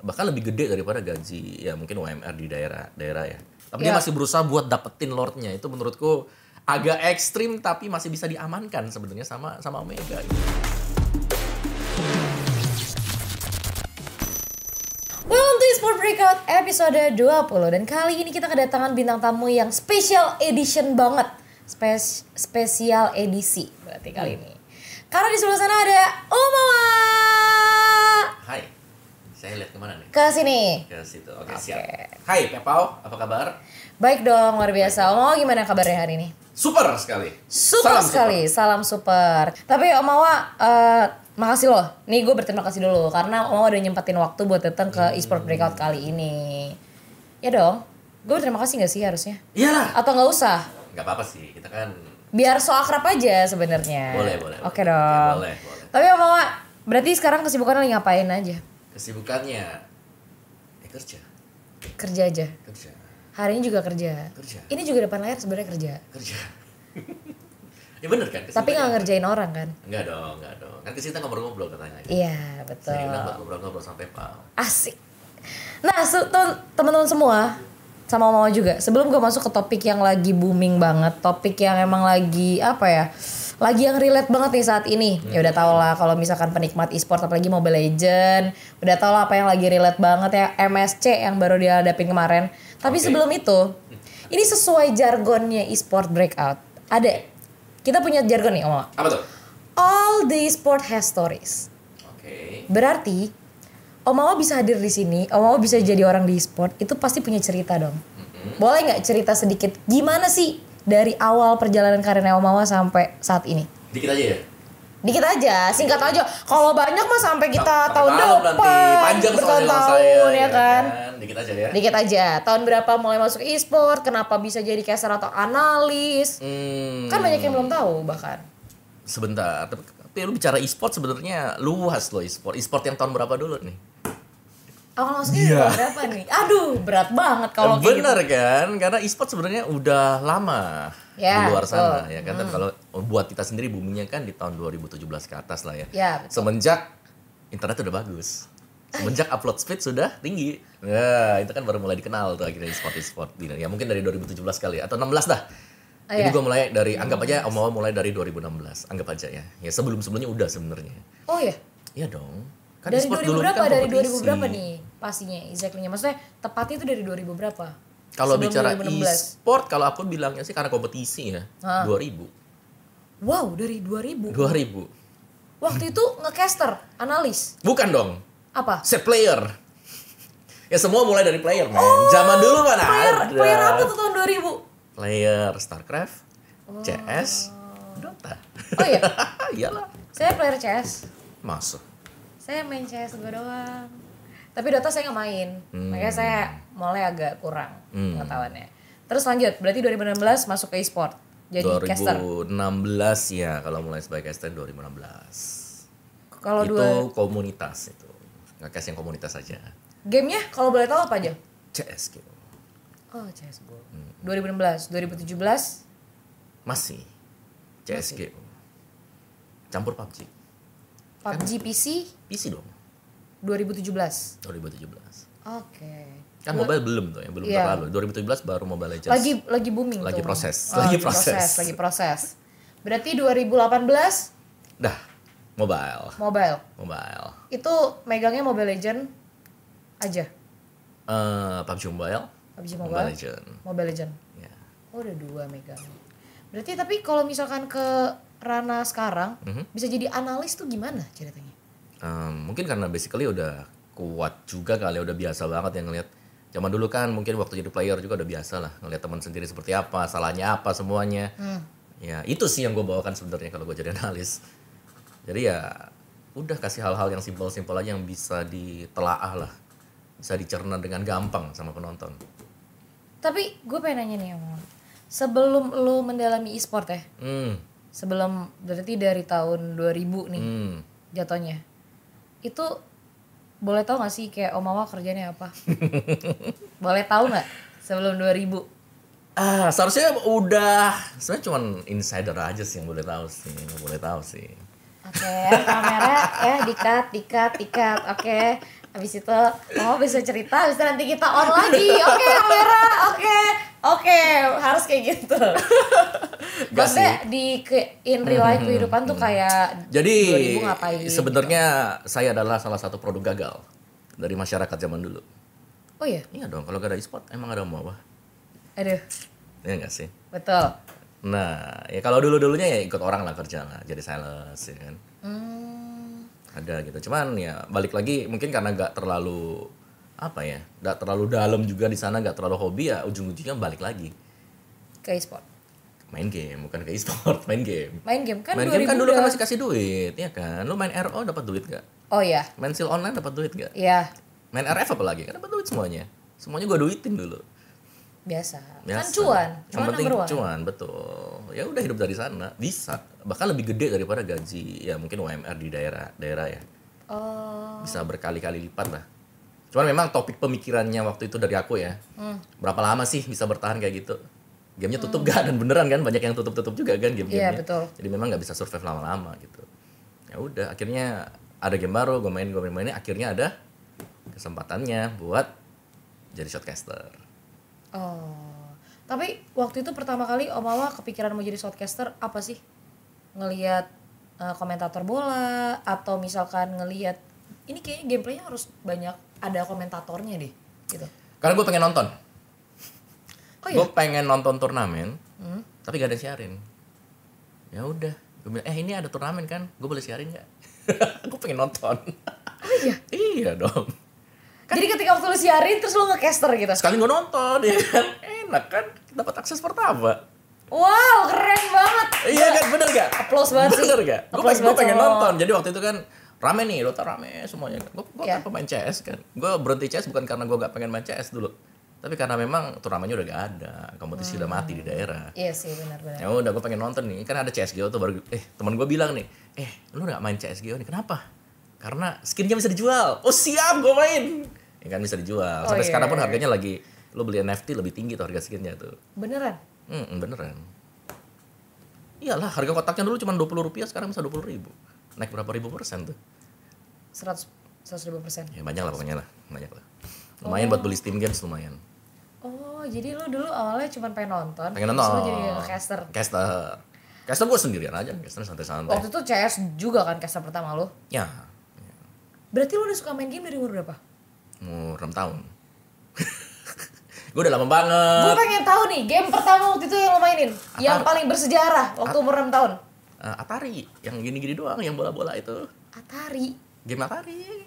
bahkan lebih gede daripada gaji ya mungkin UMR di daerah-daerah ya. Tapi dia Ya. masih berusaha buat dapetin lordnya itu menurutku agak ekstrim tapi masih bisa diamankan sebenarnya sama sama Omega. Welcome to Sport Breakout episode 20 Dan kali ini kita kedatangan bintang tamu yang special edition banget Spes Spesial edisi berarti kali ini Karena di sebelah sana ada Omawa Hai, saya lihat kemana nih? Ke sini Ke situ. Oke Oke. siap. Hai Pepau, apa kabar? Baik dong luar biasa Omawa gimana kabarnya hari ini? Super sekali. Super Salam sekali, salam super. Tapi Om Awa, eh, makasih loh. Nih gue berterima kasih dulu karena Om Awa udah nyempetin waktu buat datang ke eSport Breakout kali ini. Ya dong, gue berterima kasih gak sih harusnya? Iyalah. Atau nggak usah? Gak apa-apa sih, kita kan Biar so akrab aja sebenarnya. Boleh, boleh, Eh, Oke boleh. dong. Boleh, boleh. Tapi Om Awa, berarti sekarang kesibukan lagi ngapain aja? kesibukannya eh, kerja, Eh, Kerja aja. kerja, Hari ini juga kerja. Kerja. Ini juga depan layar sebenarnya kerja. kerja. ya bener kan? Tapi nggak kesibukannya? ngerjain orang kan? Enggak dong, enggak dong. Kan kesini kita ngobrol-ngobrol katanya. Iya, betul. Saya bilang buat ngobrol-ngobrol sampai Pau. Asik. Nah, se- to- teman-teman semua sama mau juga. Sebelum gue masuk ke topik yang lagi booming banget, topik yang emang lagi apa ya? Lagi yang relate banget nih saat ini. Ya udah tau lah kalau misalkan penikmat e-sport apalagi Mobile Legend, udah tau lah apa yang lagi relate banget ya MSC yang baru dihadapin kemarin. Tapi Oke. sebelum itu, ini sesuai jargonnya e-sport breakout. Ada kita punya jargon nih, Om. Apa tuh? All the sport has stories. Oke. Berarti Omawa bisa hadir di sini, Omawa bisa jadi orang di e-sport, itu pasti punya cerita dong. Boleh nggak cerita sedikit gimana sih dari awal perjalanan karirnya Omawa sampai saat ini? Dikit aja ya. Dikit aja, singkat aja. Kalau banyak mah sampai kita Sampai tahun malam depan, nanti panjang soalnya kalau saya, iya bertahun-tahun ya kan. Dikit aja ya. Dikit aja. Tahun berapa mulai masuk e-sport? Kenapa bisa jadi caster atau analis? Hmm, Kan banyak yang belum tahu bahkan. sebentar. Tapi, tapi lu bicara e-sport sebenarnya luas loh e-sport. E-sport yang tahun berapa dulu nih? Awal masuknya tahun berapa nih? Aduh, berat banget kalau kayak gitu. Iya. Bener kan? Karena e-sport sebenarnya udah lama Ya, di luar sana betul. Hmm. ya kan. Tapi kalau buat kita sendiri boomingnya kan di tahun 2017 ke atas lah ya. Ya, betul. Semenjak internet udah bagus. Semenjak upload speed sudah tinggi. Nah, itu kan baru mulai dikenal tuh akhirnya e-sport e-sport di Ya mungkin dari 2017 kali ya, atau 16 dah. Ah, Jadi ya. gue mulai dari anggap aja omongan mulai dari 2016, anggap aja ya. Ya sebelum-sebelumnya udah sebenarnya. Oh ya. Iya dong. Kan dari e-sport 2000 dulu ini berapa? kan dari 2000 kompetisi. berapa nih pastinya exactly-nya? Maksudnya tepatnya itu dari 2000 berapa? Kalau Sebelum bicara 2016. e-sport, kalau aku bilangnya sih karena kompetisi ya, Ah. 2000. Wow, dari 2000. 2000. Waktu itu ngecaster, analis. Bukan dong, Apa? set player. ya semua mulai dari player, men. Zaman dulu mana Oh, Player, ada. player apa tuh tahun 2000? Player StarCraft, CS, Dota. Oh iya, Iyalah, saya player CS. masuk. Saya main CS gue doang. Tapi Dota saya nggak main. Makanya saya mulai agak kurang Hmm. pengetahuannya. Terus lanjut, berarti 2016 masuk ke e-sport. Jadi caster. 2016 ya kalau mulai sebagai caster 2016. Kalau itu dua komunitas itu. Nggak yang komunitas aja. gamenya kalau boleh tahu apa aja? CS gitu. Oh, CSGO. 2016, 2017 Masih CSGO. Campur PUBG. Kan? PUBG PC PC dong 2017. 2017. Oke. Kan mobile belum tuh ya, belum Iya. terlalu. 2017 baru Mobile Legends. Lagi lagi booming Lagi tuh. proses, Oh, lagi lagi proses. proses. lagi proses. Berarti 2018 Dah, mobile. mobile. Mobile. Itu megangnya Mobile Legend aja. Eh, PUBG Mobile, PUBG Mobile, Mobile. Legend. Mobile Legend. Ya. Oh, udah dua megang. Berarti tapi kalau misalkan ke ranah sekarang Mhm. bisa jadi analis tuh gimana ceritanya? Em, mungkin karena basically udah kuat juga kali, ya, udah biasa banget yang ngeliat Zaman dulu kan mungkin waktu jadi player juga udah biasa lah ngeliat teman sendiri seperti apa, salahnya apa semuanya. Hmm. Ya, itu sih yang gue bawakan sebenarnya kalau gue jadi analis. Jadi ya udah kasih hal-hal yang simpel-simpel aja yang bisa ditelaah lah. Bisa dicerna dengan gampang sama penonton. Tapi gue pengen nanya nih Om. Sebelum lo mendalami e-sport ya, Hmm. sebelum berarti dari tahun 2000 nih Hmm. jatuhnya itu boleh tahu gak sih kayak Omawa kerjanya apa boleh tahu nggak sebelum 2000 Ah, seharusnya udah sebenarnya cuman insider aja sih yang boleh tahu sih, yang boleh tahu sih. oke kamera ya dikat dikat dikat oke Abis itu mama bisa cerita, abis itu nanti kita on lagi. Oke, kamera. Oke. Oke, harus kayak gitu. Gak sih. Hmm. Maksudnya di ke, in real life kehidupan tuh kayak Jadi 2000 ngapain? gitu? sebenarnya saya adalah salah satu produk gagal dari masyarakat zaman dulu. Oh iya. Iya dong, kalau gak ada e-sport emang ada mau apa? Aduh. Iya gak sih? Betul. Nah, ya kalau dulu-dulunya ya ikut orang lah kerja lah, jadi sales ya kan. Hmm. Ada gitu. Cuman ya balik lagi mungkin karena gak terlalu apa ya, gak terlalu dalam juga di sana, gak terlalu hobi ya ujung-ujungnya balik lagi Ke e-sport. main game, bukan ke e-sport, main game. Main game kan main 2000 game kan dulu kan udah- masih kasih duit, ya kan? Lu main RO dapat duit gak? Oh iya. Main seal online dapat duit gak? Iya, Main RF apalagi kan dapat duit semuanya. Semuanya gua duitin dulu. biasa. Kan Biasa. Yang cuan. Cuan penting number one. cuan, betul. Ya udah hidup dari sana, bisa. Bahkan lebih gede daripada gaji ya mungkin UMR di daerah-daerah ya. Oh. Bisa berkali-kali lipat lah. Cuman memang topik pemikirannya waktu itu dari aku ya. Hmm. Berapa lama sih bisa bertahan kayak gitu? Gamenya tutup gak dan beneran kan banyak yang tutup-tutup juga kan game-gamenya. Iya, betul. Jadi memang nggak bisa survive lama-lama gitu. Ya udah, akhirnya ada game baru, gue main, gue main, main, akhirnya ada kesempatannya buat jadi shotcaster. Oh. Tapi waktu itu pertama kali Om Mama kepikiran mau jadi shortcaster apa sih? Ngelihat eh, komentator bola atau misalkan ngelihat ini kayaknya gameplaynya harus banyak ada komentatornya deh gitu. Karena gue pengen nonton. Oh iya. gue pengen nonton turnamen Hmm. tapi gak ada yang siarin ya udah gue bilang eh ini ada turnamen kan gue boleh siarin nggak gue pengen nonton Oh iya. iya dong Kan Jadi ketika waktu lu siarin terus lu ngecaster gitu. sekali gue nonton ya kan enak kan dapat akses pertama Wow, keren banget. iya kan bener gak Applause banget sih. bener gak gue pengen, gua Applause banget pengen sama lo. nonton jadi waktu itu kan rame nih Dota rame semuanya gue gue Iya. kan pemain CS kan gue berhenti CS bukan karena gue gak pengen main CS dulu tapi karena memang turnamennya udah gak ada kompetisi udah mati di daerah Iya sih benar-benar. ya udah gue pengen nonton nih kan ada CSGO tuh baru eh teman gue bilang nih eh lu nggak main CSGO nih kenapa karena skinnya bisa dijual oh siap gue main ya kan bisa dijual Oh, sampai iya. sekarang pun harganya lagi lu beli NFT lebih tinggi tuh harga skinnya tuh Beneran. hmm, beneran iyalah harga kotaknya dulu cuma dua puluh rupiah sekarang bisa dua puluh ribu naik berapa ribu persen tuh 100 100 ribu persen. ya banyak lah pokoknya lah banyak lah lumayan buat beli Steam games lumayan Oh, jadi lu dulu awalnya cuma pengen nonton. pengen terus nonton Lu jadi caster. caster caster gue sendirian aja caster santai-santai Waktu itu CS juga kan caster pertama lu. ya Berarti lu udah suka main game dari umur berapa? umur 6 tahun gue udah lama Gue banget pengen tahu nih, game pertama waktu itu yang lo mainin. Yang paling bersejarah waktu umur 6 tahun. Eh, Atari yang gini-gini doang yang bola-bola itu Atari. game Atari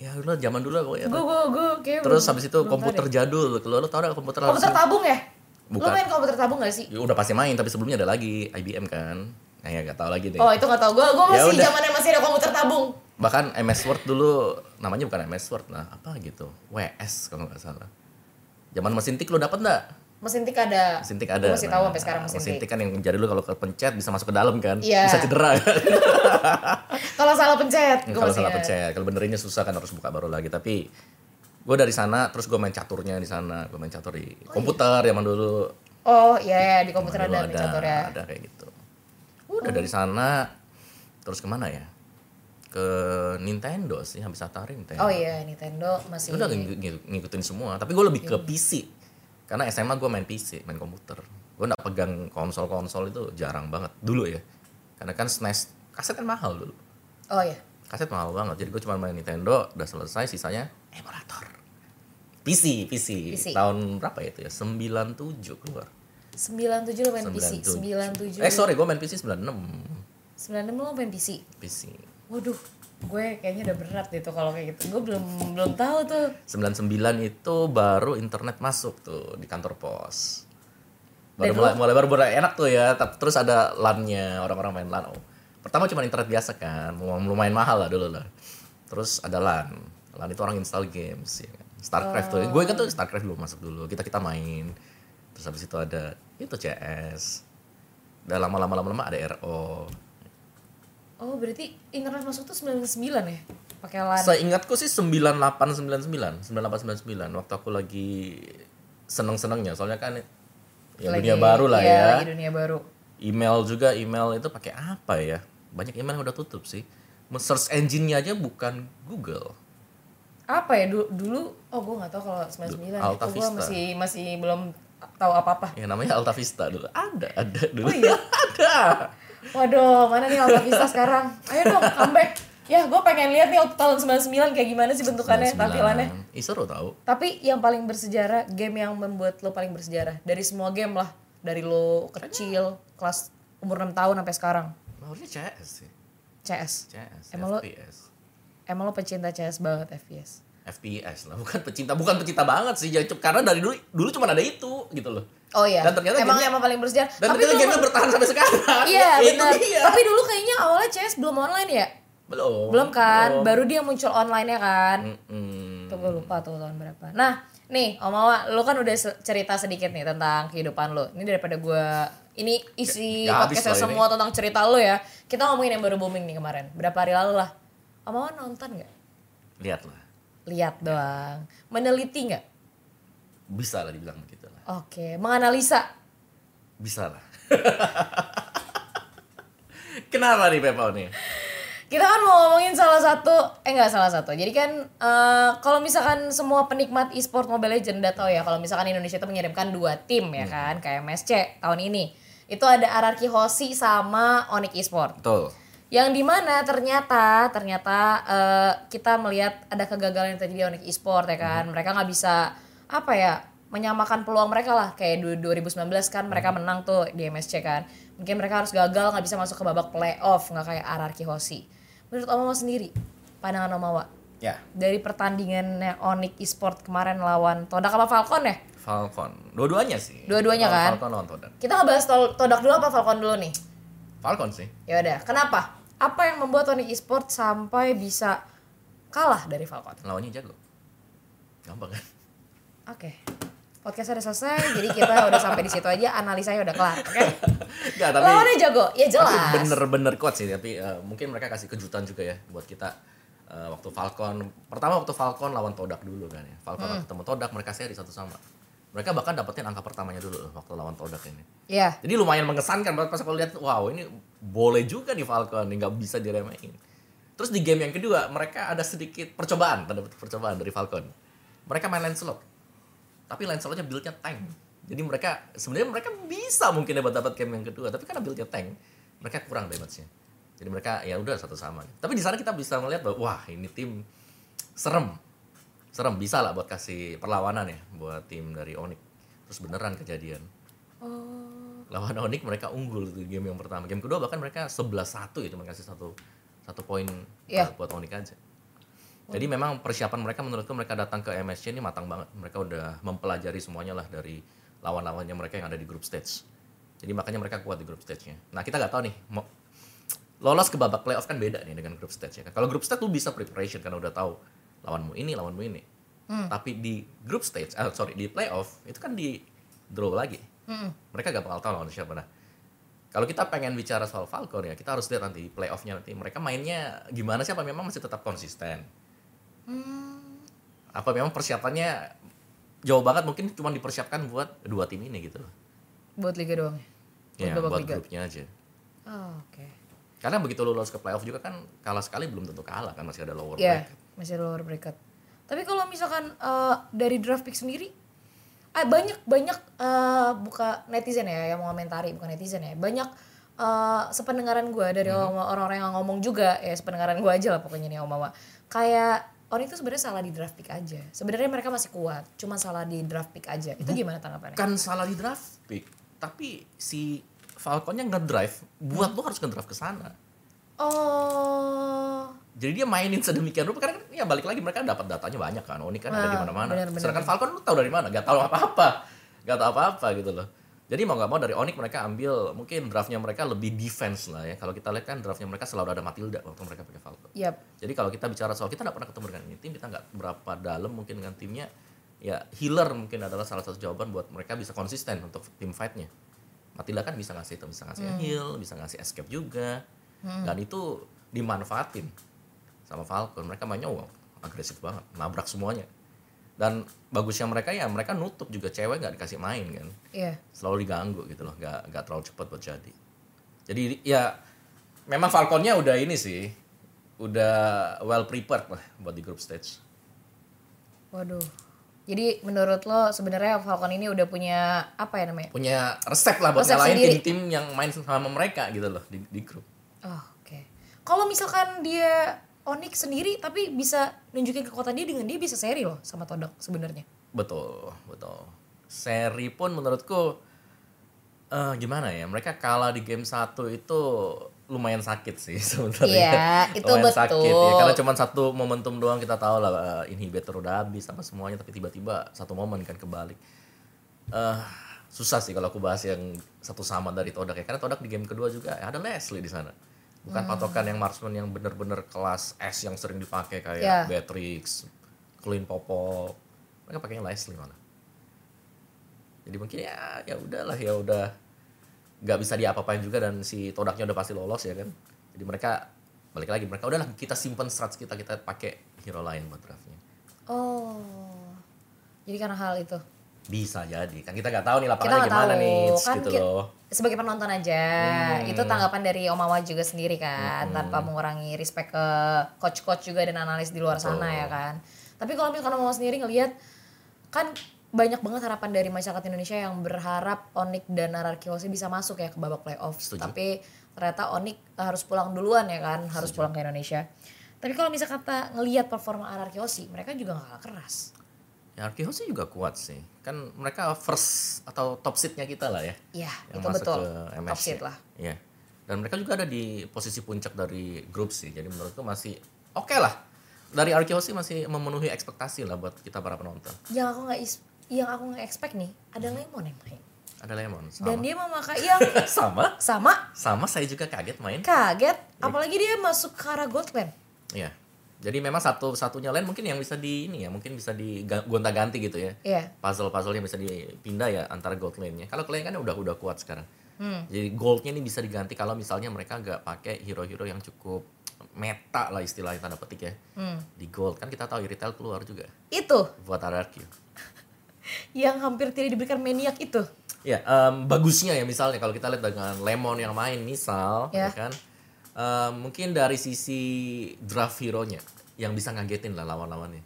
ya dulu zaman dulu lah pokoknya Gue gue gue kayak terus habis itu komputer jadul kalau lu tau gak komputer komputer langsung tabung ya? Lu Bukan. main komputer tabung gak sih? Ya, udah pasti main tapi sebelumnya ada lagi IBM kan nah ya gak tau lagi deh Oh, itu gak tau. Gue gue Ya masih udah. zamannya masih ada komputer tabung. bahkan MS Word dulu namanya bukan MS Word nah apa gitu WS kalau nggak salah zaman mesin tik lu dapet nggak Mesin tik ada. mesin tik ada Gua masih tahu Nah, sampai sekarang mesin, tik. kan yang jadi lu kalau kepencet bisa masuk ke dalam kan Iya. bisa cedera kan Kalau salah pencet, gue Eh, kalau masih salah ingat. pencet kalau benerinnya susah kan harus buka baru lagi tapi gue dari sana terus gue main caturnya di sana gue main catur di komputer zaman dulu Oh, iya di Oh, iya? komputer Zaman dulu ada pencet ya. ada kayak gitu udah dari sana terus kemana ya ke Nintendo sih habis Atari Nintendo Oh iya, Nintendo masih udah ngik- ngik- ngikutin semua tapi gue lebih ke Iya. PC karena SMA gue main PC main komputer gue nggak pegang konsol-konsol itu jarang banget dulu ya karena kan SNES kaset kan mahal dulu Oh iya. kaset mahal banget jadi gue cuma main Nintendo udah selesai sisanya emulator PC PC, PC. tahun berapa ya itu ya 97 keluar 97 lu main PC, 97. eh sorry gue main PC 96 96 lu main PC. PC Waduh, gue kayaknya udah berat deh tuh kalau kayak gitu. Gue belum belum tahu tuh. 99 itu baru internet masuk tuh di kantor pos baru Dan mulai, mulai baru mulai enak tuh ya tapi terus ada LAN-nya orang-orang main LAN oh. pertama cuma internet biasa kan lum- lumayan mahal lah dulu lah terus ada LAN LAN itu orang install games ya kan Starcraft tuh gue kan tuh Starcraft belum masuk dulu kita kita main terus habis itu ada itu CS udah lama-lama lama-lama ada RO Oh, berarti internet masuk tuh 99 ya? Pakai LAN. Saya ingatku sih 9899, 9899 waktu aku lagi seneng-senengnya soalnya kan ya Lagi- dunia baru lah iya, ya. lagi dunia baru. Email juga email itu pakai apa ya? Banyak email yang udah tutup sih. Search engine-nya aja bukan Google. apa ya dulu, dulu oh gue nggak tahu kalau 99 ya. Alta Itu gue Vista. masih masih belum tahu apa apa Yang namanya Alta Vista dulu. Ada, ada dulu. Oh iya? ada. waduh mana nih Alta Vista sekarang ayo dong comeback ya gue pengen lihat nih tahun 99 kayak gimana sih bentukannya 99. tampilannya Ih seru tau. Tapi yang paling bersejarah, game yang membuat lo paling bersejarah dari semua game lah, dari lo kecil, kelas umur 6 tahun sampai sekarang. Harusnya CS sih. CS. CS, Emang lo- FPS. Emang lo pecinta CS banget FPS. FPS lah, bukan pecinta, bukan pecinta banget sih, ya, cu- karena dari dulu dulu cuma ada itu gitu loh. Oh iya. Dan ternyata emang gamenya- emang paling bersejarah. Dan ternyata dulu- gamenya bertahan sampai sekarang. Iya, Ya, itu benar. dia. Tapi dulu kayaknya awalnya CS belum online ya? belum. Belum kan? Baru dia muncul online-nya kan? Mm-mm. Tuh gue lupa tuh tahun berapa. Nah, nih Om Awa, lo kan udah se- cerita sedikit nih tentang kehidupan lo. Ini daripada gue, ini isi Ya, ya habis lah podcastnya ini. semua tentang cerita lo ya. Kita ngomongin yang baru booming nih kemarin. Berapa hari lalu lah. Om Awa nonton nggak? Lihatlah, Lihat doang. Meneliti nggak? bisa lah dibilang begitu lah, Oke, menganalisa. bisa lah. Kenapa nih Pepau nih? Kita kan mau ngomongin salah satu, eh nggak salah satu. Jadi kan eh, kalau misalkan semua penikmat e-sport Mobile Legends udah tahu ya, kalau misalkan Indonesia itu mengirimkan dua tim ya kan, kayak MSC tahun ini. Itu ada Ararki Hoshi sama Onyx e-sport. Betul. Yang dimana ternyata ternyata eh, kita melihat ada kegagalan yang terjadi di Onyx Esport ya kan. Mereka nggak bisa apa ya menyamakan peluang mereka lah kayak du- 2019 kan mereka menang tuh di MSC kan. Mungkin mereka harus gagal nggak bisa masuk ke babak playoff nggak kayak Ararki Hoshi. Menurut Omawa sendiri pandangan Omawa Ya, dari pertandingannya Onyx Esport kemarin lawan Todak apa Falcon ya? Falcon. Dua-duanya sih. Dua-duanya kan? Falcon lawan Todak. Kita ngebahas Tol- Todak dulu apa Falcon dulu nih? Falcon sih. Ya udah, kenapa? Apa yang membuat Onyx Esport sampai bisa kalah dari Falcon? Oke. Lawannya jago. Gampang kan? Podcast udah selesai, jadi kita udah sampai di situ aja, analisanya udah kelar, oke? Gak, tapi Lawannya jago, ya tapi jelas. bener-bener kuat sih tapi eh, mungkin mereka kasih kejutan juga ya buat kita Eh, waktu Falcon pertama waktu Falcon lawan Todak dulu kan ya Falcon Hmm. ketemu Todak mereka seri satu sama mereka bahkan dapetin angka pertamanya dulu loh waktu lawan Todak ini Iya. jadi lumayan mengesankan pas pas aku lihat wow ini boleh juga nih Falcon nih nggak bisa diremehin terus di game yang kedua mereka ada sedikit percobaan ada percobaan dari Falcon mereka main Lancelot tapi Lancelotnya buildnya tank jadi mereka sebenarnya mereka bisa mungkin dapat dapat game yang kedua tapi karena buildnya tank mereka kurang damage-nya jadi mereka ya udah satu sama tapi di sana kita bisa melihat bahwa wah ini tim serem serem bisa lah buat kasih perlawanan ya buat tim dari Onyx terus beneran kejadian lawan Onyx mereka unggul di game yang pertama game kedua bahkan mereka 11-1 ya cuma kasih satu satu poin Iya. uh, buat Onyx aja jadi memang persiapan mereka menurutku mereka datang ke MSC ini matang banget mereka udah mempelajari semuanya lah dari lawan-lawannya mereka yang ada di group stage jadi makanya mereka kuat di group stage-nya nah kita nggak tahu nih mau lolos ke babak playoff kan beda nih dengan grup stage ya kan. Kalau grup stage lu bisa preparation karena udah tahu lawanmu ini, lawanmu ini. Hmm. Tapi di grup stage, ah sorry di playoff itu kan di draw lagi. Mereka gak bakal tahu lawan siapa nah. Kalau kita pengen bicara soal Falcon ya, kita harus lihat nanti di playoffnya nanti mereka mainnya gimana sih apa memang masih tetap konsisten. Hmm, Apa memang persiapannya jauh banget mungkin cuma dipersiapkan buat dua tim ini gitu loh. Buat liga doang. Buat Ya, babak buat liga. grupnya aja. Oh, oke. Karena begitu lu lolos ke playoff juga kan kalah sekali belum tentu kalah kan masih ada lower Iya, bracket. masih lower bracket. Tapi kalau misalkan eh, dari draft pick sendiri ah, banyak banyak eh, buka netizen ya yang mau komentari bukan netizen ya. Banyak eh, sependengaran gue dari Hmm. orang-orang yang ngomong juga ya sependengaran gue aja lah pokoknya nih Om Mawa. Kayak orang itu sebenarnya salah di draft pick aja. Sebenarnya mereka masih kuat, cuma salah di draft pick aja. Hmm. Itu gimana tanggapannya? Bukan salah di draft pick, tapi si Falconnya ngedrive, buat lo harus ngedrive ke sana. Oh, Jadi dia mainin sedemikian rupa karena kan, ya balik lagi mereka dapat datanya banyak kan. Oni kan ada di Ah, mana-mana. benar-benar. Sedangkan Falcon lu tahu dari mana? Gak tahu apa-apa. Gak tahu apa-apa gitu loh. Jadi mau gak mau dari Onyx mereka ambil mungkin draftnya mereka lebih defense lah ya. Kalau kita lihat kan draftnya mereka selalu ada Matilda waktu mereka pakai Falcon. yap. Jadi kalau kita bicara soal kita nggak pernah ketemu dengan ini tim, kita nggak berapa dalam mungkin dengan timnya. Ya healer mungkin adalah salah satu jawaban buat mereka bisa konsisten untuk tim fightnya. Matilda kan bisa ngasih itu, bisa ngasih heal, bisa ngasih escape juga. Dan itu dimanfaatin sama Falcon. Mereka banyak wow, agresif banget, nabrak semuanya. Dan bagusnya mereka ya mereka nutup juga cewek nggak dikasih main kan Iya. selalu diganggu gitu loh nggak nggak terlalu cepat buat jadi jadi ya memang Falconnya udah ini sih udah well prepared lah buat di group stage Waduh. Jadi menurut lo sebenarnya Falcon ini udah punya apa ya namanya? Punya resep lah buat Resep ngalahin sendiri. tim-tim yang main sama mereka gitu loh di, di grup. Oh, oke. Kalau misalkan dia Onyx sendiri tapi bisa nunjukin kekuatan dia dengan dia bisa seri loh sama Todok sebenarnya. Betul, betul. Seri pun menurutku eh gimana ya? Mereka kalah di game 1 itu lumayan sakit sih sebenarnya. Iya, itu Lumayan betul. Karena cuma satu momentum doang kita tahu lah eh, inhibitor udah habis sama semuanya tapi tiba-tiba satu momen kan kebalik. Eh susah sih kalau aku bahas yang satu sama dari Todak ya. Karena Todak di game kedua juga eh, ada Leslie di sana. Hmm. Bukan patokan yang marksman yang bener-bener kelas S yang sering dipakai kayak Iya. Beatrix, Clean Popo. Mereka pakainya Leslie malah. Jadi mungkin ya ya udahlah ya udah nggak bisa diapa-apain juga dan si todaknya udah pasti lolos ya kan. Jadi mereka balik lagi mereka udahlah kita simpen strats kita kita pakai hero lain buat draftnya. Oh. Jadi karena hal itu. Bisa jadi kan kita nggak tahu nih Kita lapangannya nggak gimana tahu nih kan gitu ki- loh. sebagai penonton aja. Hmm. Itu tanggapan dari Omawa juga sendiri kan, tanpa mengurangi respect ke coach-coach juga dan analis di luar sana Betul. ya kan. Tapi kalau misalkan Omawa sendiri ngelihat kan banyak banget harapan dari masyarakat Indonesia yang berharap Onik dan Ararkiwasi bisa masuk ya ke babak playoff. Setuju. Tapi ternyata Onik harus pulang duluan ya kan, harus pulang ke Indonesia. Tapi kalau misalkan kata ngelihat performa Ararkiwasi, mereka juga nggak kalah keras. Ya Arkiho sih juga kuat sih. Kan mereka first atau top seednya kita lah ya. Iya, Yang itu masuk betul. ke MSC. Top seed lah. Iya. Dan mereka juga ada di posisi puncak dari grup sih. Jadi menurutku masih oke lah. Dari Arkiho sih masih memenuhi ekspektasi lah buat kita para penonton. Yang aku nggak is- yang aku nggak expect nih ada Lemon yang main. Ada Lemon sama. dan dia memakai yang sama sama sama saya juga kaget main kaget apalagi dia masuk ke arah Goldland Iya. jadi memang satu satunya lain mungkin yang bisa di ini ya mungkin bisa digonta ganti gitu ya Iya. puzzle puzzlenya bisa dipindah ya antara gold lane-nya kalau kalian kan udah udah kuat sekarang Hmm. jadi goldnya ini bisa diganti kalau misalnya mereka nggak pakai hero-hero yang cukup meta lah istilahnya tanda petik ya Hmm. di gold kan kita tahu retail keluar juga itu buat hierarchy yang hampir tidak diberikan maniak itu Ya, em, bagusnya ya misalnya kalau kita lihat dengan Lemon yang main misal, ya Ya. kan, Em, mungkin dari sisi draft hero-nya yang bisa ngagetin lah lawan-lawannya.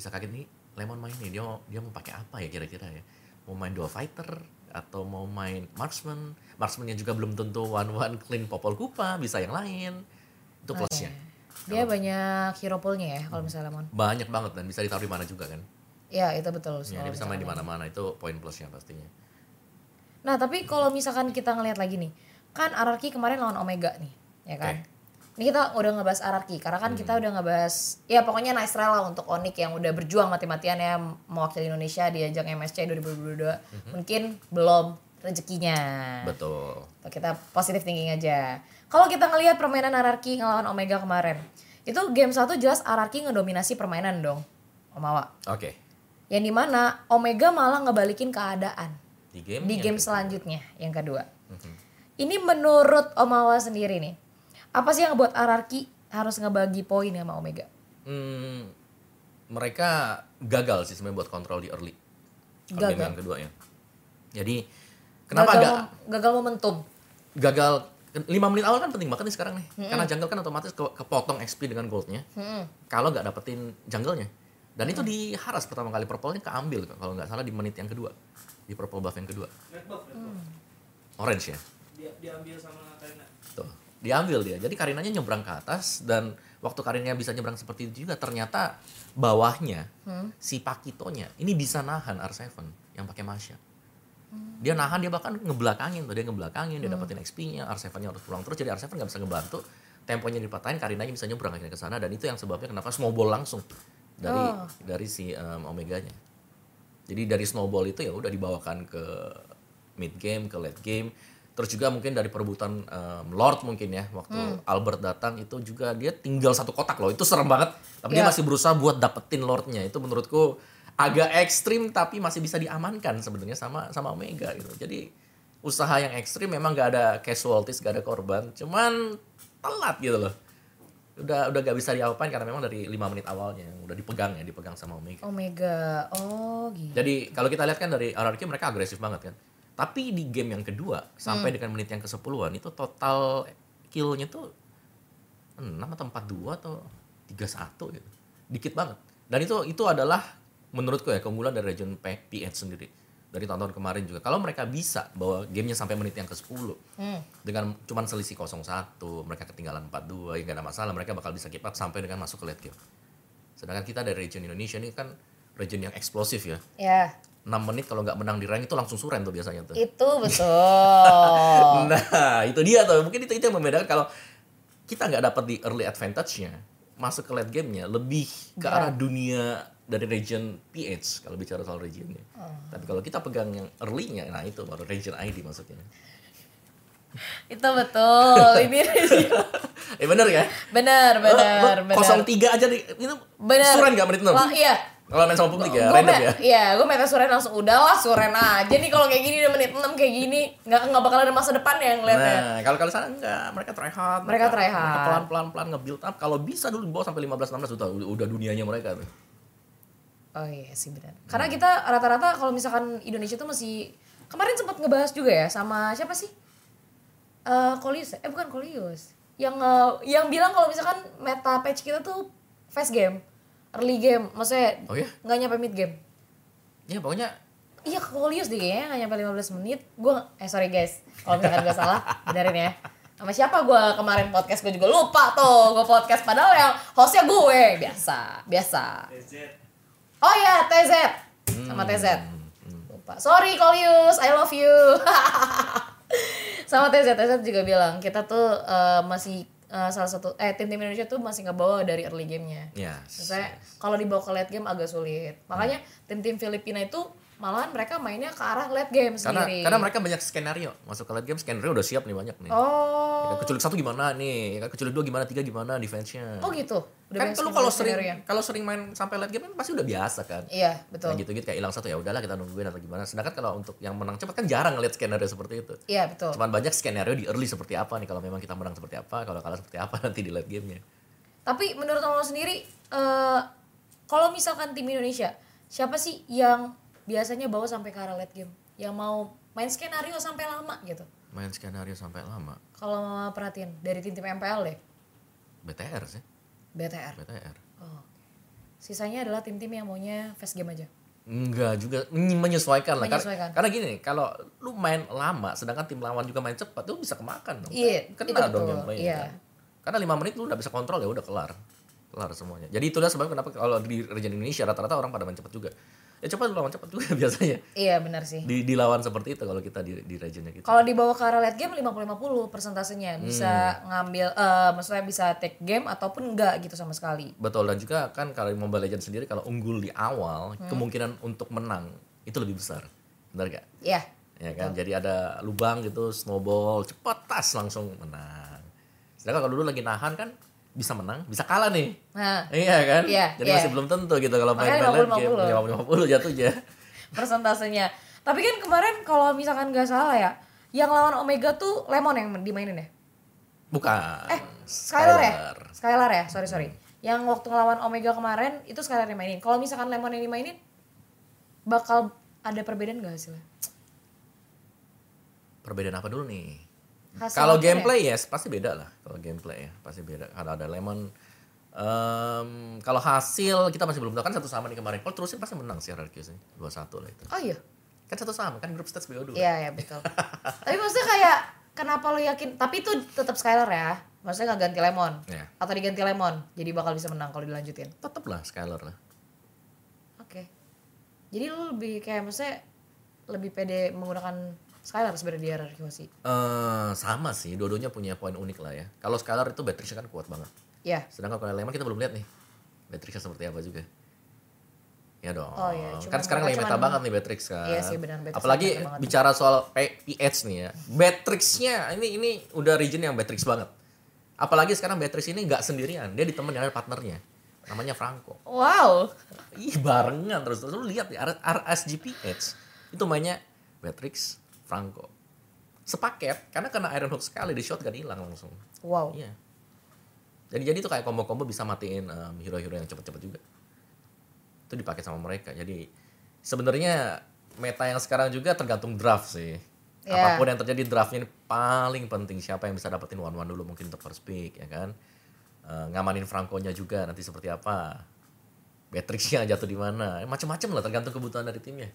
Bisa kaget nih, Lemon main nih, dia mau, dia mau pakai apa ya kira-kira ya? Mau main dual fighter atau mau main marksman? Marksman yang juga belum tentu one one clean popol kupa, bisa yang lain. Itu plusnya. dia banyak hero poolnya ya kalau misalnya Lemon Banyak banget dan bisa ditaruh di mana juga kan. ya itu Ya, betul soal dia bisa misalkan main di Lemon. mana-mana itu poin plusnya pastinya. nah tapi kalau misalkan kita ngelihat lagi nih kan Ararki kemarin lawan Omega nih ya kan Oke. Ini kita udah ngebahas Ararki karena kan kita udah ngebahas ya pokoknya nice try lah untuk Onik yang udah berjuang mati-matian ya mewakili Indonesia di ajang MSC 2022. Mungkin belum rezekinya. Betul. Atau kita positive thinking aja. Kalau kita ngelihat permainan Ararki ngelawan Omega kemarin, itu game satu jelas Ararki ngedominasi permainan dong, Omawa. Oke. Yang dimana Omega malah ngebalikin keadaan Di game yang di game kedua. selanjutnya yang kedua. Mhm. Ini menurut Omawa sendiri nih, apa sih yang buat Ararki harus ngebagi poin sama Omega? Hmm, mereka gagal sih sebenarnya buat kontrol di early. Kalau Gagal. Game yang kedua ya. Jadi kenapa gagal, agak mom- gagal momentum? gagal 5 menit awal kan penting banget nih sekarang nih. Karena jungle kan otomatis ke- kepotong XP dengan goldnya. Mm-mm. Kalau nggak dapetin junglenya. Dan Mm. itu diharas pertama kali purple-nya keambil kalau nggak salah di menit yang kedua. Di purple buff yang kedua. Red buff, red buff. Mm. Orange ya. Dia, diambil sama Karina. Tuh, Gitu. diambil dia. Jadi Karinanya nyebrang ke atas dan waktu Karinanya bisa nyebrang seperti itu juga ternyata bawahnya si Pakitonya ini bisa nahan R7 yang pakai Masya. Dia nahan dia bahkan ngebelakangin tuh, dia ngebelakangin, dia dapetin XP-nya, R7-nya harus pulang terus jadi R7 nggak bisa ngebantu. Temponya dipatahin, Karinanya bisa nyebrang akhirnya ke sana dan itu yang sebabnya kenapa snowball langsung dari Oh. dari si um, Omeganya. Jadi dari snowball itu ya udah dibawakan ke mid game, ke late game. Terus juga mungkin dari perebutan um, Lord mungkin ya waktu Albert datang itu juga dia tinggal satu kotak loh. Itu serem banget. Tapi dia Iya. masih berusaha buat dapetin Lordnya. Itu menurutku agak ekstrim tapi masih bisa diamankan sebenarnya sama sama Omega gitu. Jadi usaha yang ekstrim memang gak ada casualties, gak ada korban. Cuman telat gitu loh. Udah udah gak bisa diapain karena memang dari lima menit awalnya yang udah dipegang ya, dipegang sama Omega. Omega, oh gitu. Jadi kalau kita lihat kan dari RRQ mereka agresif banget kan. Tapi di game yang kedua sampai dengan menit yang ke-10-an itu total kill-nya tuh 6 atau 42 atau 31 gitu. Dikit banget. Dan itu itu adalah menurutku ya keunggulan dari region P- PH sendiri dari tahun-tahun kemarin juga. Kalau mereka bisa bawa gamenya sampai menit yang ke-10 Mm, dengan cuman selisih 0-1, mereka ketinggalan 4-2, ya nggak ada masalah. Mereka bakal bisa keep up sampai dengan masuk ke late game. Sedangkan kita dari region Indonesia ini kan region yang eksplosif ya. Ya, 6 menit kalau nggak menang di rank itu langsung suren tuh biasanya tuh. itu betul. Nah, itu dia tuh. Mungkin itu, itu yang membedakan kalau kita nggak dapat di early advantage-nya, masuk ke late game-nya lebih ke arah dunia dari region PH kalau bicara soal regionnya. Tapi kalau kita pegang yang early-nya, nah itu baru region ID maksudnya. itu betul. Ini eh bener ya? benar, benar, Lo- lo benar. 03 aja di, itu Benar. eh, suren nggak menit 0? Lah, iya. Kalau main sama publik ya, Gua random me- ya. Iya, gue meta Suren langsung udahlah Suren aja nih kalau kayak gini udah menit 6 kayak gini nggak nggak bakal ada masa depan ya ngeliatnya. Nah, kalau kalau sana enggak, mereka try hard. Mereka try hard. Mereka pelan-pelan pelan nge-build up. Kalau bisa dulu dibawa sampai 15 16 udah udah dunianya mereka tuh. Oh iya sih benar. Karena kita rata-rata kalau misalkan Indonesia tuh masih kemarin sempat ngebahas juga ya sama siapa sih? Eh Kolius, eh bukan Kolius. Yang eh, yang bilang kalau misalkan meta patch kita tuh fast game, early game, maksudnya Oh ya? nggak nyampe mid game. Ya pokoknya Iya Kolius deh kayaknya nggak nyampe 15 menit. Gua eh sorry guys, kalau misalkan gue salah, benerin ya. Sama siapa gue kemarin podcast gue juga lupa tuh gue podcast padahal yang hostnya gue biasa biasa TZ. Oh iya, TZ. Sama TZ. Lupa. Sorry Kolius, I love you. Sama TZ, TZ juga bilang kita tuh eh, masih eh, salah satu eh tim-tim Indonesia tuh masih ngebawa dari early gamenya. ya. Saya kalau dibawa ke late game agak sulit. Makanya tim-tim Filipina itu malahan mereka mainnya ke arah late game karena sendiri. karena mereka banyak skenario masuk ke late game skenario udah siap nih banyak nih Ya Oh. kan, keculik satu gimana nih ya kan, keculik dua gimana tiga gimana defense-nya Oh gitu. Udah kan banyak kalau kalau skenario-nya. sering kalau sering main sampai late game kan pasti udah biasa kan Iya, betul. Nah, gitu-gitu kayak hilang satu ya udahlah kita nungguin atau gimana sedangkan kalau untuk yang menang cepat kan jarang ngeliat skenario seperti itu Iya, betul. cuman banyak skenario di early seperti apa nih kalau memang kita menang seperti apa kalau kalah seperti apa nanti di late gamenya Tapi menurut kamu sendiri, eh kalau misalkan tim Indonesia, siapa sih yang biasanya bawa sampai ke arah late game? Yang mau main skenario sampai lama gitu? main skenario sampai lama Kalau mama perhatiin dari tim-tim MPL deh, BTR sih BTR. BTR Oh. Sisanya adalah tim-tim yang maunya fast game aja. Enggak juga Men- menyesuaikan lah. Kar- Menyesuaikan. Karena, gini nih, kalau lu main lama sedangkan tim lawan juga main cepat, lu bisa kemakan dong. Iya, Kan itu Kena dong betul, yang main. iya. kan. Karena lima menit lu udah bisa kontrol ya udah kelar. Kelar semuanya. Jadi itulah sebabnya kenapa kalau di region Indonesia rata-rata orang pada main cepat juga. Ya cepat lawan cepat juga biasanya. Iya benar sih. Di dilawan seperti itu kalau kita di di regionnya gitu. Kalau dibawa ke arah late game 50-50 persentasenya Hmm. bisa ngambil, eh maksudnya bisa take game ataupun enggak gitu sama sekali. Betul dan juga kan kalau di Mobile Legends sendiri kalau unggul di awal, Hmm. kemungkinan untuk menang itu lebih besar. Benar gak? Iya. ya kan jadi ada lubang gitu snowball cepat tas langsung menang sedangkan kalau dulu lagi nahan kan bisa menang bisa kalah nih Nah, iya kan Iya, jadi iya. masih belum tentu gitu kalau main Makanya main game Iya, 50-50. 50 jatuhnya persentasenya. Tapi kan kemarin kalau misalkan nggak salah ya, yang lawan Omega tuh Lemon yang dimainin ya? bukan Eh, Skylar ya? Skylar ya, sorry sorry. Yang waktu ngelawan Omega kemarin itu Skylar yang mainin. Kalau misalkan Lemon yang dimainin, bakal ada perbedaan gak hasilnya? perbedaan apa dulu nih Hasil kalau akhirnya? gameplay ya pasti beda lah kalau gameplay ya pasti beda ada ada lemon Em, kalau hasil kita masih belum tahu kan satu sama nih kemarin. Kalau terusin pasti menang sih RRQ sih. 2-1 lah itu. Oh iya, Kan satu sama kan grup stats BO2. iya iya betul. Tapi maksudnya kayak kenapa lo yakin? Tapi itu tetap Skylar ya. Maksudnya nggak ganti Lemon Iya. atau diganti Lemon, jadi bakal bisa menang kalau dilanjutin. Tetep lah Skylar lah. Oke. Jadi lu lebih kayak maksudnya lebih pede menggunakan Skylar sebenarnya di RRQ masih. eh sama sih, dua-duanya punya poin unik lah ya. Kalau Skylar itu Beatrice kan kuat banget. Ya. Sedangkan kalau Lemon kita belum lihat nih. Beatrice seperti apa juga. Ya dong. Oh iya, cuman kan sekarang lagi mereka meta cuman- banget nih Beatrix kan. Iya sih, benar, Beatrix Apalagi meta banget. bicara soal P- PH nih ya. Beatrixnya ini ini udah region yang Beatrix banget. Apalagi sekarang Beatrix ini nggak sendirian, dia ditemenin oleh partnernya. Namanya Franco. Wow. Ih barengan terus terus lu lihat ya R- RSGPH itu mainnya Matrix Franco sepaket karena kena Iron Hook sekali di shotgun hilang langsung Wow. iya jadi jadi itu kayak combo-combo bisa matiin em, hero-hero yang cepet-cepet juga itu dipakai sama mereka jadi sebenarnya meta yang sekarang juga tergantung draft sih Iya. apapun yang terjadi draftnya ini paling penting siapa yang bisa dapetin one one dulu mungkin untuk first pick ya kan Eh, ngamanin Franco-nya juga nanti seperti apa Matrixnya jatuh di mana. Macam-macam lah tergantung kebutuhan dari timnya.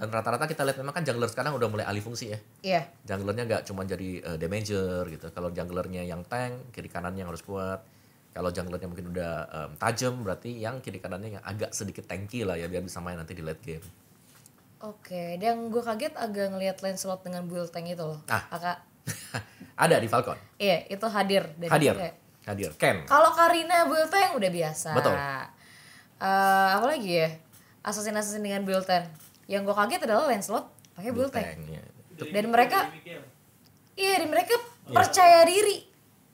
Dan rata-rata kita lihat memang kan jungler sekarang udah mulai alih fungsi ya. Iya. Junglernya nggak cuma jadi eh, damager gitu. Kalau junglernya yang tank, kiri kanannya yang harus kuat. Kalau junglernya mungkin udah em, tajam, berarti yang kiri kanannya yang agak sedikit tanky lah ya biar bisa main nanti di late game. Oke, dan gue kaget agak ngelihat Lancelot dengan build tank itu loh. Ah. Agak- Ada di Falcon. iya, itu hadir dari Hadir. kayak- Hadir. Ken. Kalau Karina build tank udah biasa. Betul. Eh, apa lagi ya? Assassin-assassin dengan build tank. Yang gue kaget adalah Lancelot pakai build tank. Tanknya. Dan mereka- Iya, dan mereka percaya diri.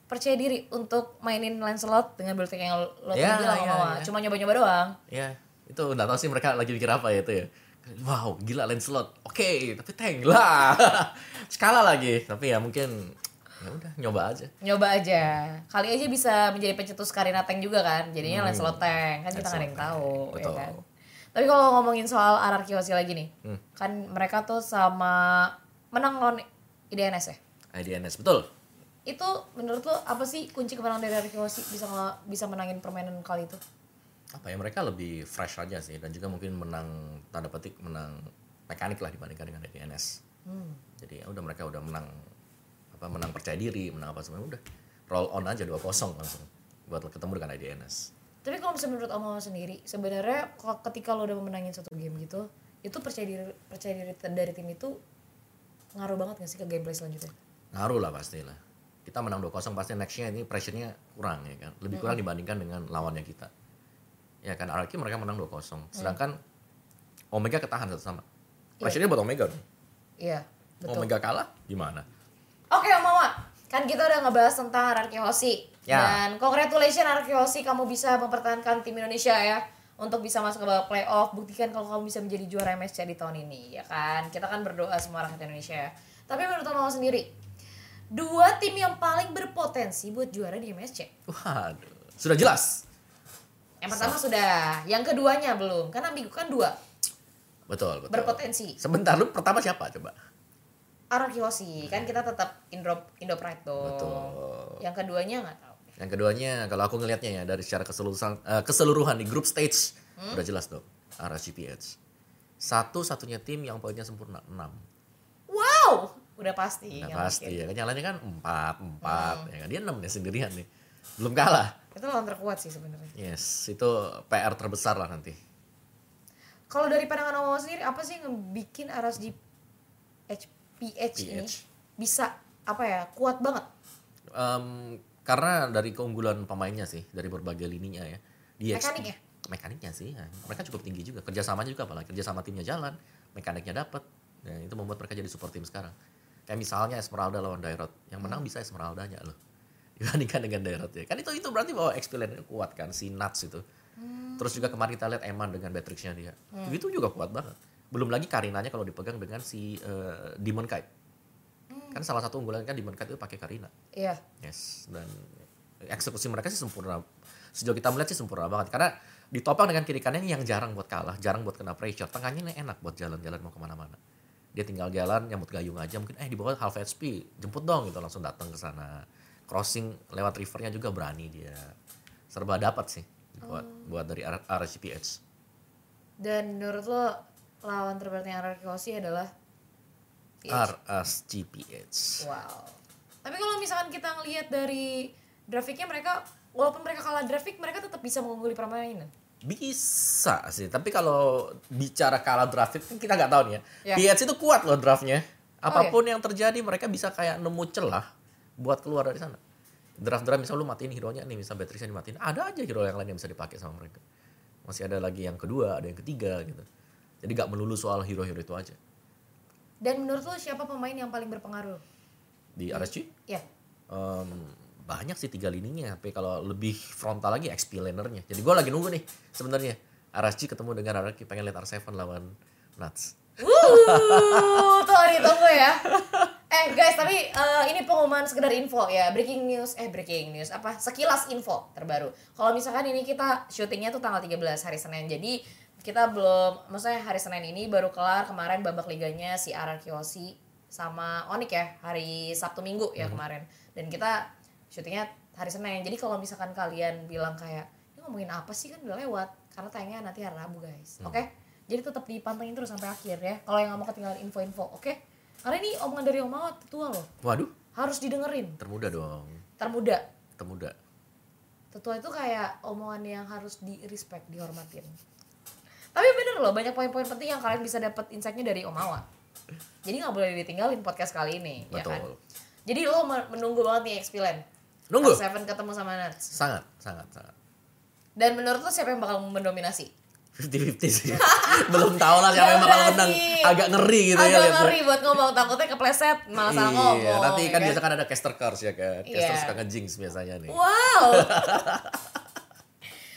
Percaya diri untuk mainin Lancelot dengan build tank yang lo lo tadi Ya, bilang ya, sama ya. Cuma nyoba-nyoba doang. Ya, itu nggak tahu sih mereka lagi mikir apa ya itu ya. Wow, gila Lancelot. Oke, tapi tank lah. Skala lagi, tapi ya mungkin ya udah nyoba aja. Nyoba aja. Kali aja bisa menjadi pencetus Karina Tank juga kan. Jadinya Lancelot Tank. Kan kita nggak ada yang Hmm. Lancelot tahu. Tank. Ya Betul. kan? Tapi kalau ngomongin soal anarkiwasi lagi nih. Hmm. Kan mereka tuh sama menang lawan IDNS ya. IDNS betul. Itu menurut lo apa sih kunci kemenangan dari anarkiwasi bisa ngel- bisa menangin permainan kali itu? Apa ya mereka lebih fresh aja sih dan juga mungkin menang tanda petik menang mekanik lah dibandingkan dengan IDNS. Hmm. Jadi ya udah mereka udah menang apa menang percaya diri, menang apa semuanya udah. Roll on aja 2-0 langsung buat ketemu dengan IDNS. Tapi kalau misalnya menurut Om Om sendiri, sebenarnya kalau ketika lo udah memenangin satu game gitu, itu percaya diri percaya diri t- dari tim itu ngaruh banget gak sih ke gameplay selanjutnya? ngaruh lah pastilah kita menang 2-0 pasti nextnya ini pressure-nya kurang ya kan lebih kurang dibandingkan dengan lawannya kita ya kan Araki mereka menang 2-0 sedangkan Omega ketahan satu sama pressure-nya buat Omega dong. Iya, betul. Omega kalah gimana Oke Om Mama, kan kita udah ngebahas tentang Anarki Hoshi. Ya. Dan congratulations Anarki Hoshi, kamu bisa mempertahankan tim Indonesia ya. Untuk bisa masuk ke babak playoff, buktikan kalau kamu bisa menjadi juara MSC di tahun ini, ya kan? Kita kan berdoa semua rakyat Indonesia ya. Tapi menurut Om Mama sendiri, dua tim yang paling berpotensi buat juara di MSC. waduh sudah jelas Yang pertama sudah, yang keduanya belum. Kan ambigu kan dua, betul betul berpotensi. sebentar lu pertama siapa coba Arakiyoshi, kan kita tetap Indo Indo Pride dong. Betul. Yang keduanya nggak tahu. yang keduanya kalau aku ngelihatnya ya dari secara keseluruhan eh, keseluruhan di grup stage udah jelas dong RSGPH satu-satunya tim yang poinnya sempurna 6 Wow, udah pasti. Nah, yang pasti bikin. ya kan yang lainnya kan empat empat ya kan dia enam nih sendirian nih belum kalah Itu lawan terkuat sih sebenarnya. yes itu PR terbesar lah nanti Kalau dari pandangan Om Om sendiri, apa sih yang bikin RSG HPH ini PH. bisa apa ya kuat banget? Em, karena dari keunggulan pemainnya sih dari berbagai lininya ya di XP Mekanik ya? mekaniknya sih ya. mereka cukup tinggi juga kerjasamanya juga apalagi kerjasama timnya jalan mekaniknya dapat nah, itu membuat mereka jadi super tim sekarang kayak misalnya Esmeralda lawan Dairot yang Hmm. menang bisa Esmeraldanya loh dibandingkan dengan Dairot ya kan itu itu berarti bahwa experience kuat kan si Nuts itu Hmm. terus juga kemarin kita lihat Eman dengan Matrixnya dia Ya. itu juga kuat banget belum lagi Karinanya kalau dipegang dengan si eh, Demon Kite Hmm. kan salah satu unggulan kan Demon Kite itu pakai Karina Iya. Yes, dan eksekusi mereka sih sempurna. Sejauh kita melihat sih sempurna banget. Karena ditopang dengan kiri kanan yang jarang buat kalah, jarang buat kena pressure. Tengahnya ini enak buat jalan-jalan mau kemana-mana. Dia tinggal jalan, nyambut gayung aja. Mungkin eh di bawah half HP, jemput dong gitu langsung datang ke sana. Crossing lewat rivernya juga berani dia. Serba dapat sih buat buat dari R- RCPH. Dan menurut lo lawan terberatnya Arakiyoshi adalah PH. RSGPH. Wow. Tapi kalau misalkan kita ngelihat dari grafiknya mereka walaupun mereka kalah grafik mereka tetap bisa mengungguli permainan. Bisa sih, tapi kalau bicara kalah draft kan kita nggak tahu nih Ya. ya. PH itu kuat loh draftnya. Apapun yang terjadi mereka bisa kayak nemu celah buat keluar dari sana. Draft-draft misalnya lu matiin hero-nya nih, misalnya Beatrixnya dimatiin, ada aja hero yang lain yang bisa dipakai sama mereka. Masih ada lagi yang kedua, ada yang ketiga gitu. Jadi nggak melulu soal hero-hero itu aja. Dan menurut lo siapa pemain yang paling berpengaruh? Di RSG Ya. em, banyak sih tiga lininya, tapi kalau lebih frontal lagi XP lanernya. Jadi gua lagi nunggu nih sebenarnya. RSG ketemu dengan RRQ pengen lihat R7 lawan Nuts. Wuh, tuh ditunggu ya. Eh guys, tapi eh, ini pengumuman sekedar info ya, breaking news, eh breaking news apa? Sekilas info terbaru. Kalau misalkan ini kita syutingnya tuh tanggal 13 hari Senin. Jadi kita belum maksudnya hari Senin ini baru kelar kemarin babak liganya si Arakiyoshi sama Onik ya hari Sabtu Minggu ya kemarin. Dan kita syutingnya hari Senin. Jadi kalau misalkan kalian bilang kayak ini ngomongin apa sih kan udah lewat. Karena tayangnya nanti hari Rabu guys. Hmm. Oke? Jadi tetap dipantengin terus sampai akhir ya. Kalau yang nggak mau ketinggalan info-info, oke? Karena ini omongan dari Om Awat tua loh. Waduh, Harus didengerin. termuda dong. Termuda. Termuda. Tetua itu kayak omongan yang harus di respect, dihormatin. Tapi bener loh, banyak poin-poin penting yang kalian bisa dapat insight-nya dari Om Awat. Jadi nggak boleh ditinggalin podcast kali ini, ya kan? Betul. Jadi lo men- menunggu banget nih Expilen. Nunggu. Seven ketemu sama Nats. Sangat, sangat, sangat. Dan menurut lo siapa yang bakal mendominasi? 50-50 sih. Belum tahu lah siapa yang Ya bakal udah menang. sih. Agak ngeri gitu ya. Agak liatnya. ngeri buat ngomong, takutnya kepleset, malah salah ngomong. Iya, nanti kan ya biasa kan ada caster curse ya kan. Iya. Caster suka ngejinx biasanya nih. Wow.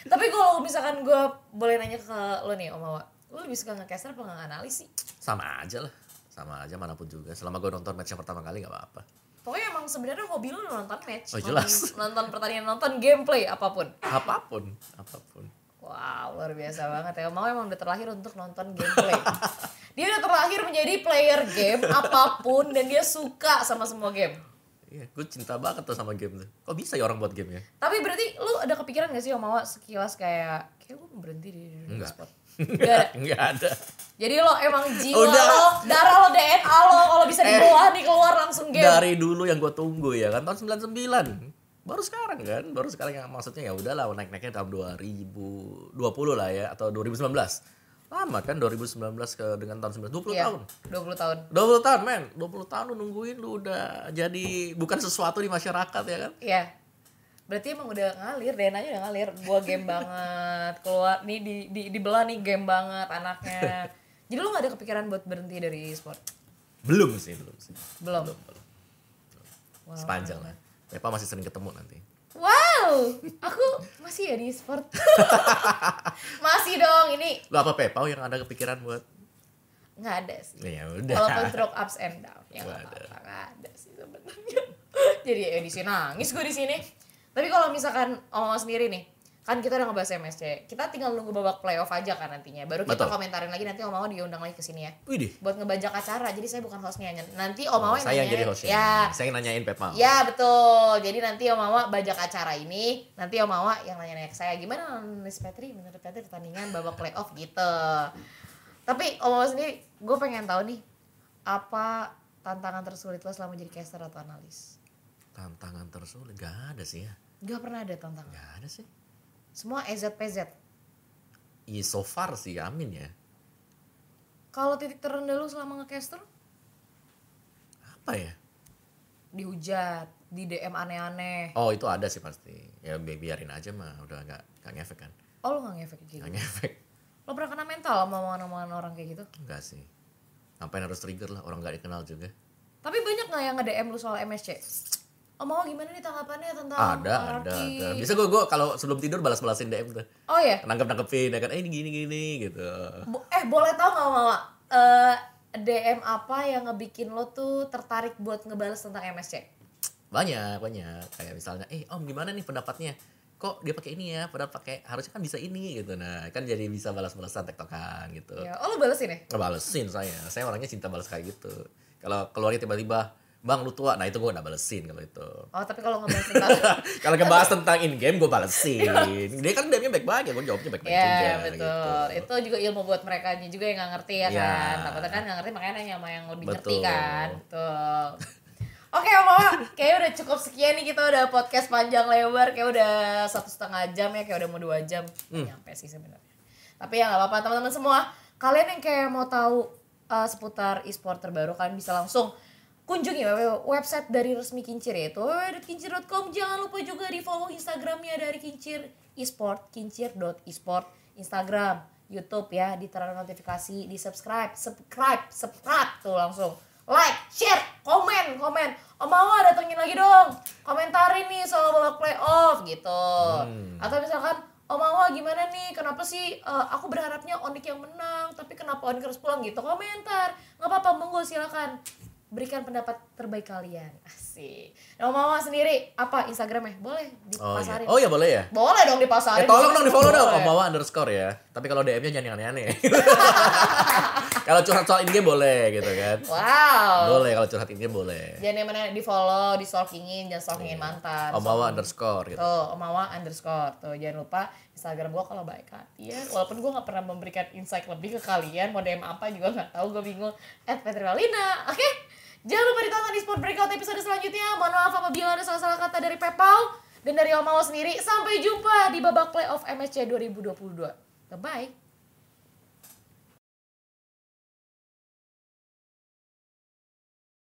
Tapi kalau misalkan gue boleh nanya ke lo nih Om Awa, lo lebih suka nge-caster apa nge-analis sih? Sama aja lah. Sama aja manapun juga. Selama gue nonton match yang pertama kali gak apa-apa. Pokoknya emang sebenarnya hobi lo nonton match, Oh, jelas. Nonton, nonton pertandingan, nonton gameplay apapun. Apapun, apapun. Wow, luar biasa banget ya. Mau emang udah terlahir untuk nonton gameplay. dia udah terlahir menjadi player game apapun dan dia suka sama semua game. Iya, gue cinta banget tuh sama game tuh. Kok bisa ya orang buat game ya? Tapi berarti lu ada kepikiran gak sih Om Awa sekilas kayak kayak gue berhenti di di dunia Enggak. sport. Enggak ada. Enggak ada. Jadi lo emang jiwa Udah. Eh. lo, darah lo, DNA lo kalau bisa dibawa nih keluar langsung game. Dari dulu yang gue tunggu ya kan tahun 99. Baru sekarang kan, baru sekarang yang maksudnya ya udahlah naik-naiknya tahun 2020 lah ya atau 2019. Lama kan 2019 ke dengan tahun 19 20 Iya, tahun. 20 tahun. 20 tahun men, 20 tahun lu nungguin lu udah jadi bukan sesuatu di masyarakat ya kan. Iya. Berarti emang udah ngalir, DNA-nya udah ngalir. Gua game banget, keluar nih di di dibelah nih game banget anaknya. Jadi lu gak ada kepikiran buat berhenti dari sport? Belum sih, belum sih. Belum. Wow. Sepanjang lah. Pepa masih sering ketemu nanti. Wow, aku masih ya di sport. masih dong, ini Lu apa Pepa yang ada kepikiran buat? nggak ada sih. Ya Walaupun udah. stroke ups and down, ya nggak Waduh. apa-apa, nggak ada sih sebenarnya. Jadi ya di sini nangis gue di sini. Tapi kalau misalkan omong sendiri nih, kan kita udah ngebahas MSC, kita tinggal nunggu babak playoff aja kan nantinya. Baru Betul. kita komentarin lagi nanti Om Awa diundang lagi ke sini ya. Widih. Buat ngebajak acara, jadi saya bukan hostnya. Nanti Om Oh, saya Awa yang yang nanyain. jadi hostnya. Ya, Saya yang nanyain Pepa. ya betul. Jadi nanti Om Awa bajak acara ini, nanti Om Awa yang nanya-nanya ke saya gimana Miss Petri menurut Petri pertandingan babak playoff gitu. Tapi Om Awa sendiri, gue pengen tahu nih apa tantangan tersulit lo selama jadi caster atau analis? Tantangan tersulit gak ada sih ya. Gak pernah ada tantangan. Gak ada sih. Semua EZPZ. I so far sih amin ya. Kalau titik terendah lo selama ngecaster Apa ya? dihujat, di DM aneh-aneh. Oh itu ada sih pasti. Ya bi- biarin aja mah udah gak, gak ngefek kan. Oh lo gak ngefek kayak Gak gitu? ngefek. Lo pernah kena mental sama omongan-omongan orang kayak gitu? Enggak sih. Ngapain harus trigger lah orang gak dikenal juga. Tapi banyak nggak yang nge-DM lu soal MSC? Om mau Oh, gimana nih tanggapannya tentang ada, ada, hierarki? ada. Bisa gue gua kalau sebelum tidur balas-balasin DM tuh. Oh ya, Nangkep nangkepin ya kan. Eh ini gini gini gitu. Bo- eh boleh tau nggak mama Eh, DM apa yang ngebikin lo tuh tertarik buat ngebales tentang MSC? Banyak banyak. Kayak misalnya, eh om gimana nih pendapatnya? Kok dia pakai ini ya? Padahal pakai harusnya kan bisa ini gitu. Nah kan jadi bisa balas-balasan tektokan gitu. Ya, oh lo balesin ya? balesin saya saya orangnya cinta balas kayak gitu kalau keluarnya tiba-tiba bang lu tua nah itu gue udah balesin kalau itu Oh tapi kalau ngebales tentang kalau ngebahas tentang in game gue balesin dia kan DM-nya baik-baik ya gue jawabnya baik-baik juga Ya betul, gitu. itu juga ilmu buat mereka juga yang nggak ngerti ya Ya. kan Takutnya kan nggak ngerti makanya nanya sama yang lebih ngerti Betul. kan Betul Oke Om Mama, kayaknya udah cukup sekian nih kita udah podcast panjang lebar Kayak udah satu setengah jam ya, kayak udah mau dua jam Hmm. Nggak Nyampe sih sebenarnya Tapi ya nggak apa-apa teman-teman semua Kalian yang kayak mau tahu eh, seputar e-sport terbaru kalian bisa langsung kunjungi web- website dari resmi Kincir yaitu www.kincir.com jangan lupa juga di follow Instagramnya dari Kincir e-sport kincir.e-sport Instagram YouTube ya diterang notifikasi di subscribe subscribe subscribe tuh langsung like share komen komen Om Awa datengin lagi dong komentarin nih soal babak playoff gitu atau misalkan Om Awa gimana nih? Kenapa sih eh, aku berharapnya Onik yang menang, tapi kenapa Onik harus pulang gitu? Komentar. Nggak apa-apa, monggo silakan berikan pendapat terbaik kalian. Asik. Nah, Om Awa sendiri apa Instagramnya? Boleh oh iya dipasarin. oh Eh, iya boleh ya Boleh dong dipasarin. eh tolong dong di follow dong Boleh. omawa underscore ya tapi kalau DM-nya jangan yang aneh-aneh Kalau curhat soal in-game boleh gitu kan. Wow. Boleh kalau curhat in-game boleh. Jangan yang mana di follow, di stalkingin, jangan Iya. stalkingin mantan. Omawa underscore gitu. Tuh, Omawa underscore. Tuh, jangan lupa Instagram gua kalau baik kalian. Walaupun gua nggak pernah memberikan insight lebih ke kalian, mau DM apa juga nggak tahu, gua bingung. At Petrolina, oke? Jangan lupa ditonton di Sport Breakout episode selanjutnya. Mohon maaf apabila ada salah-salah kata dari Pepau dan dari Omawa sendiri. Sampai jumpa di babak playoff MSC 2022. Bye-bye.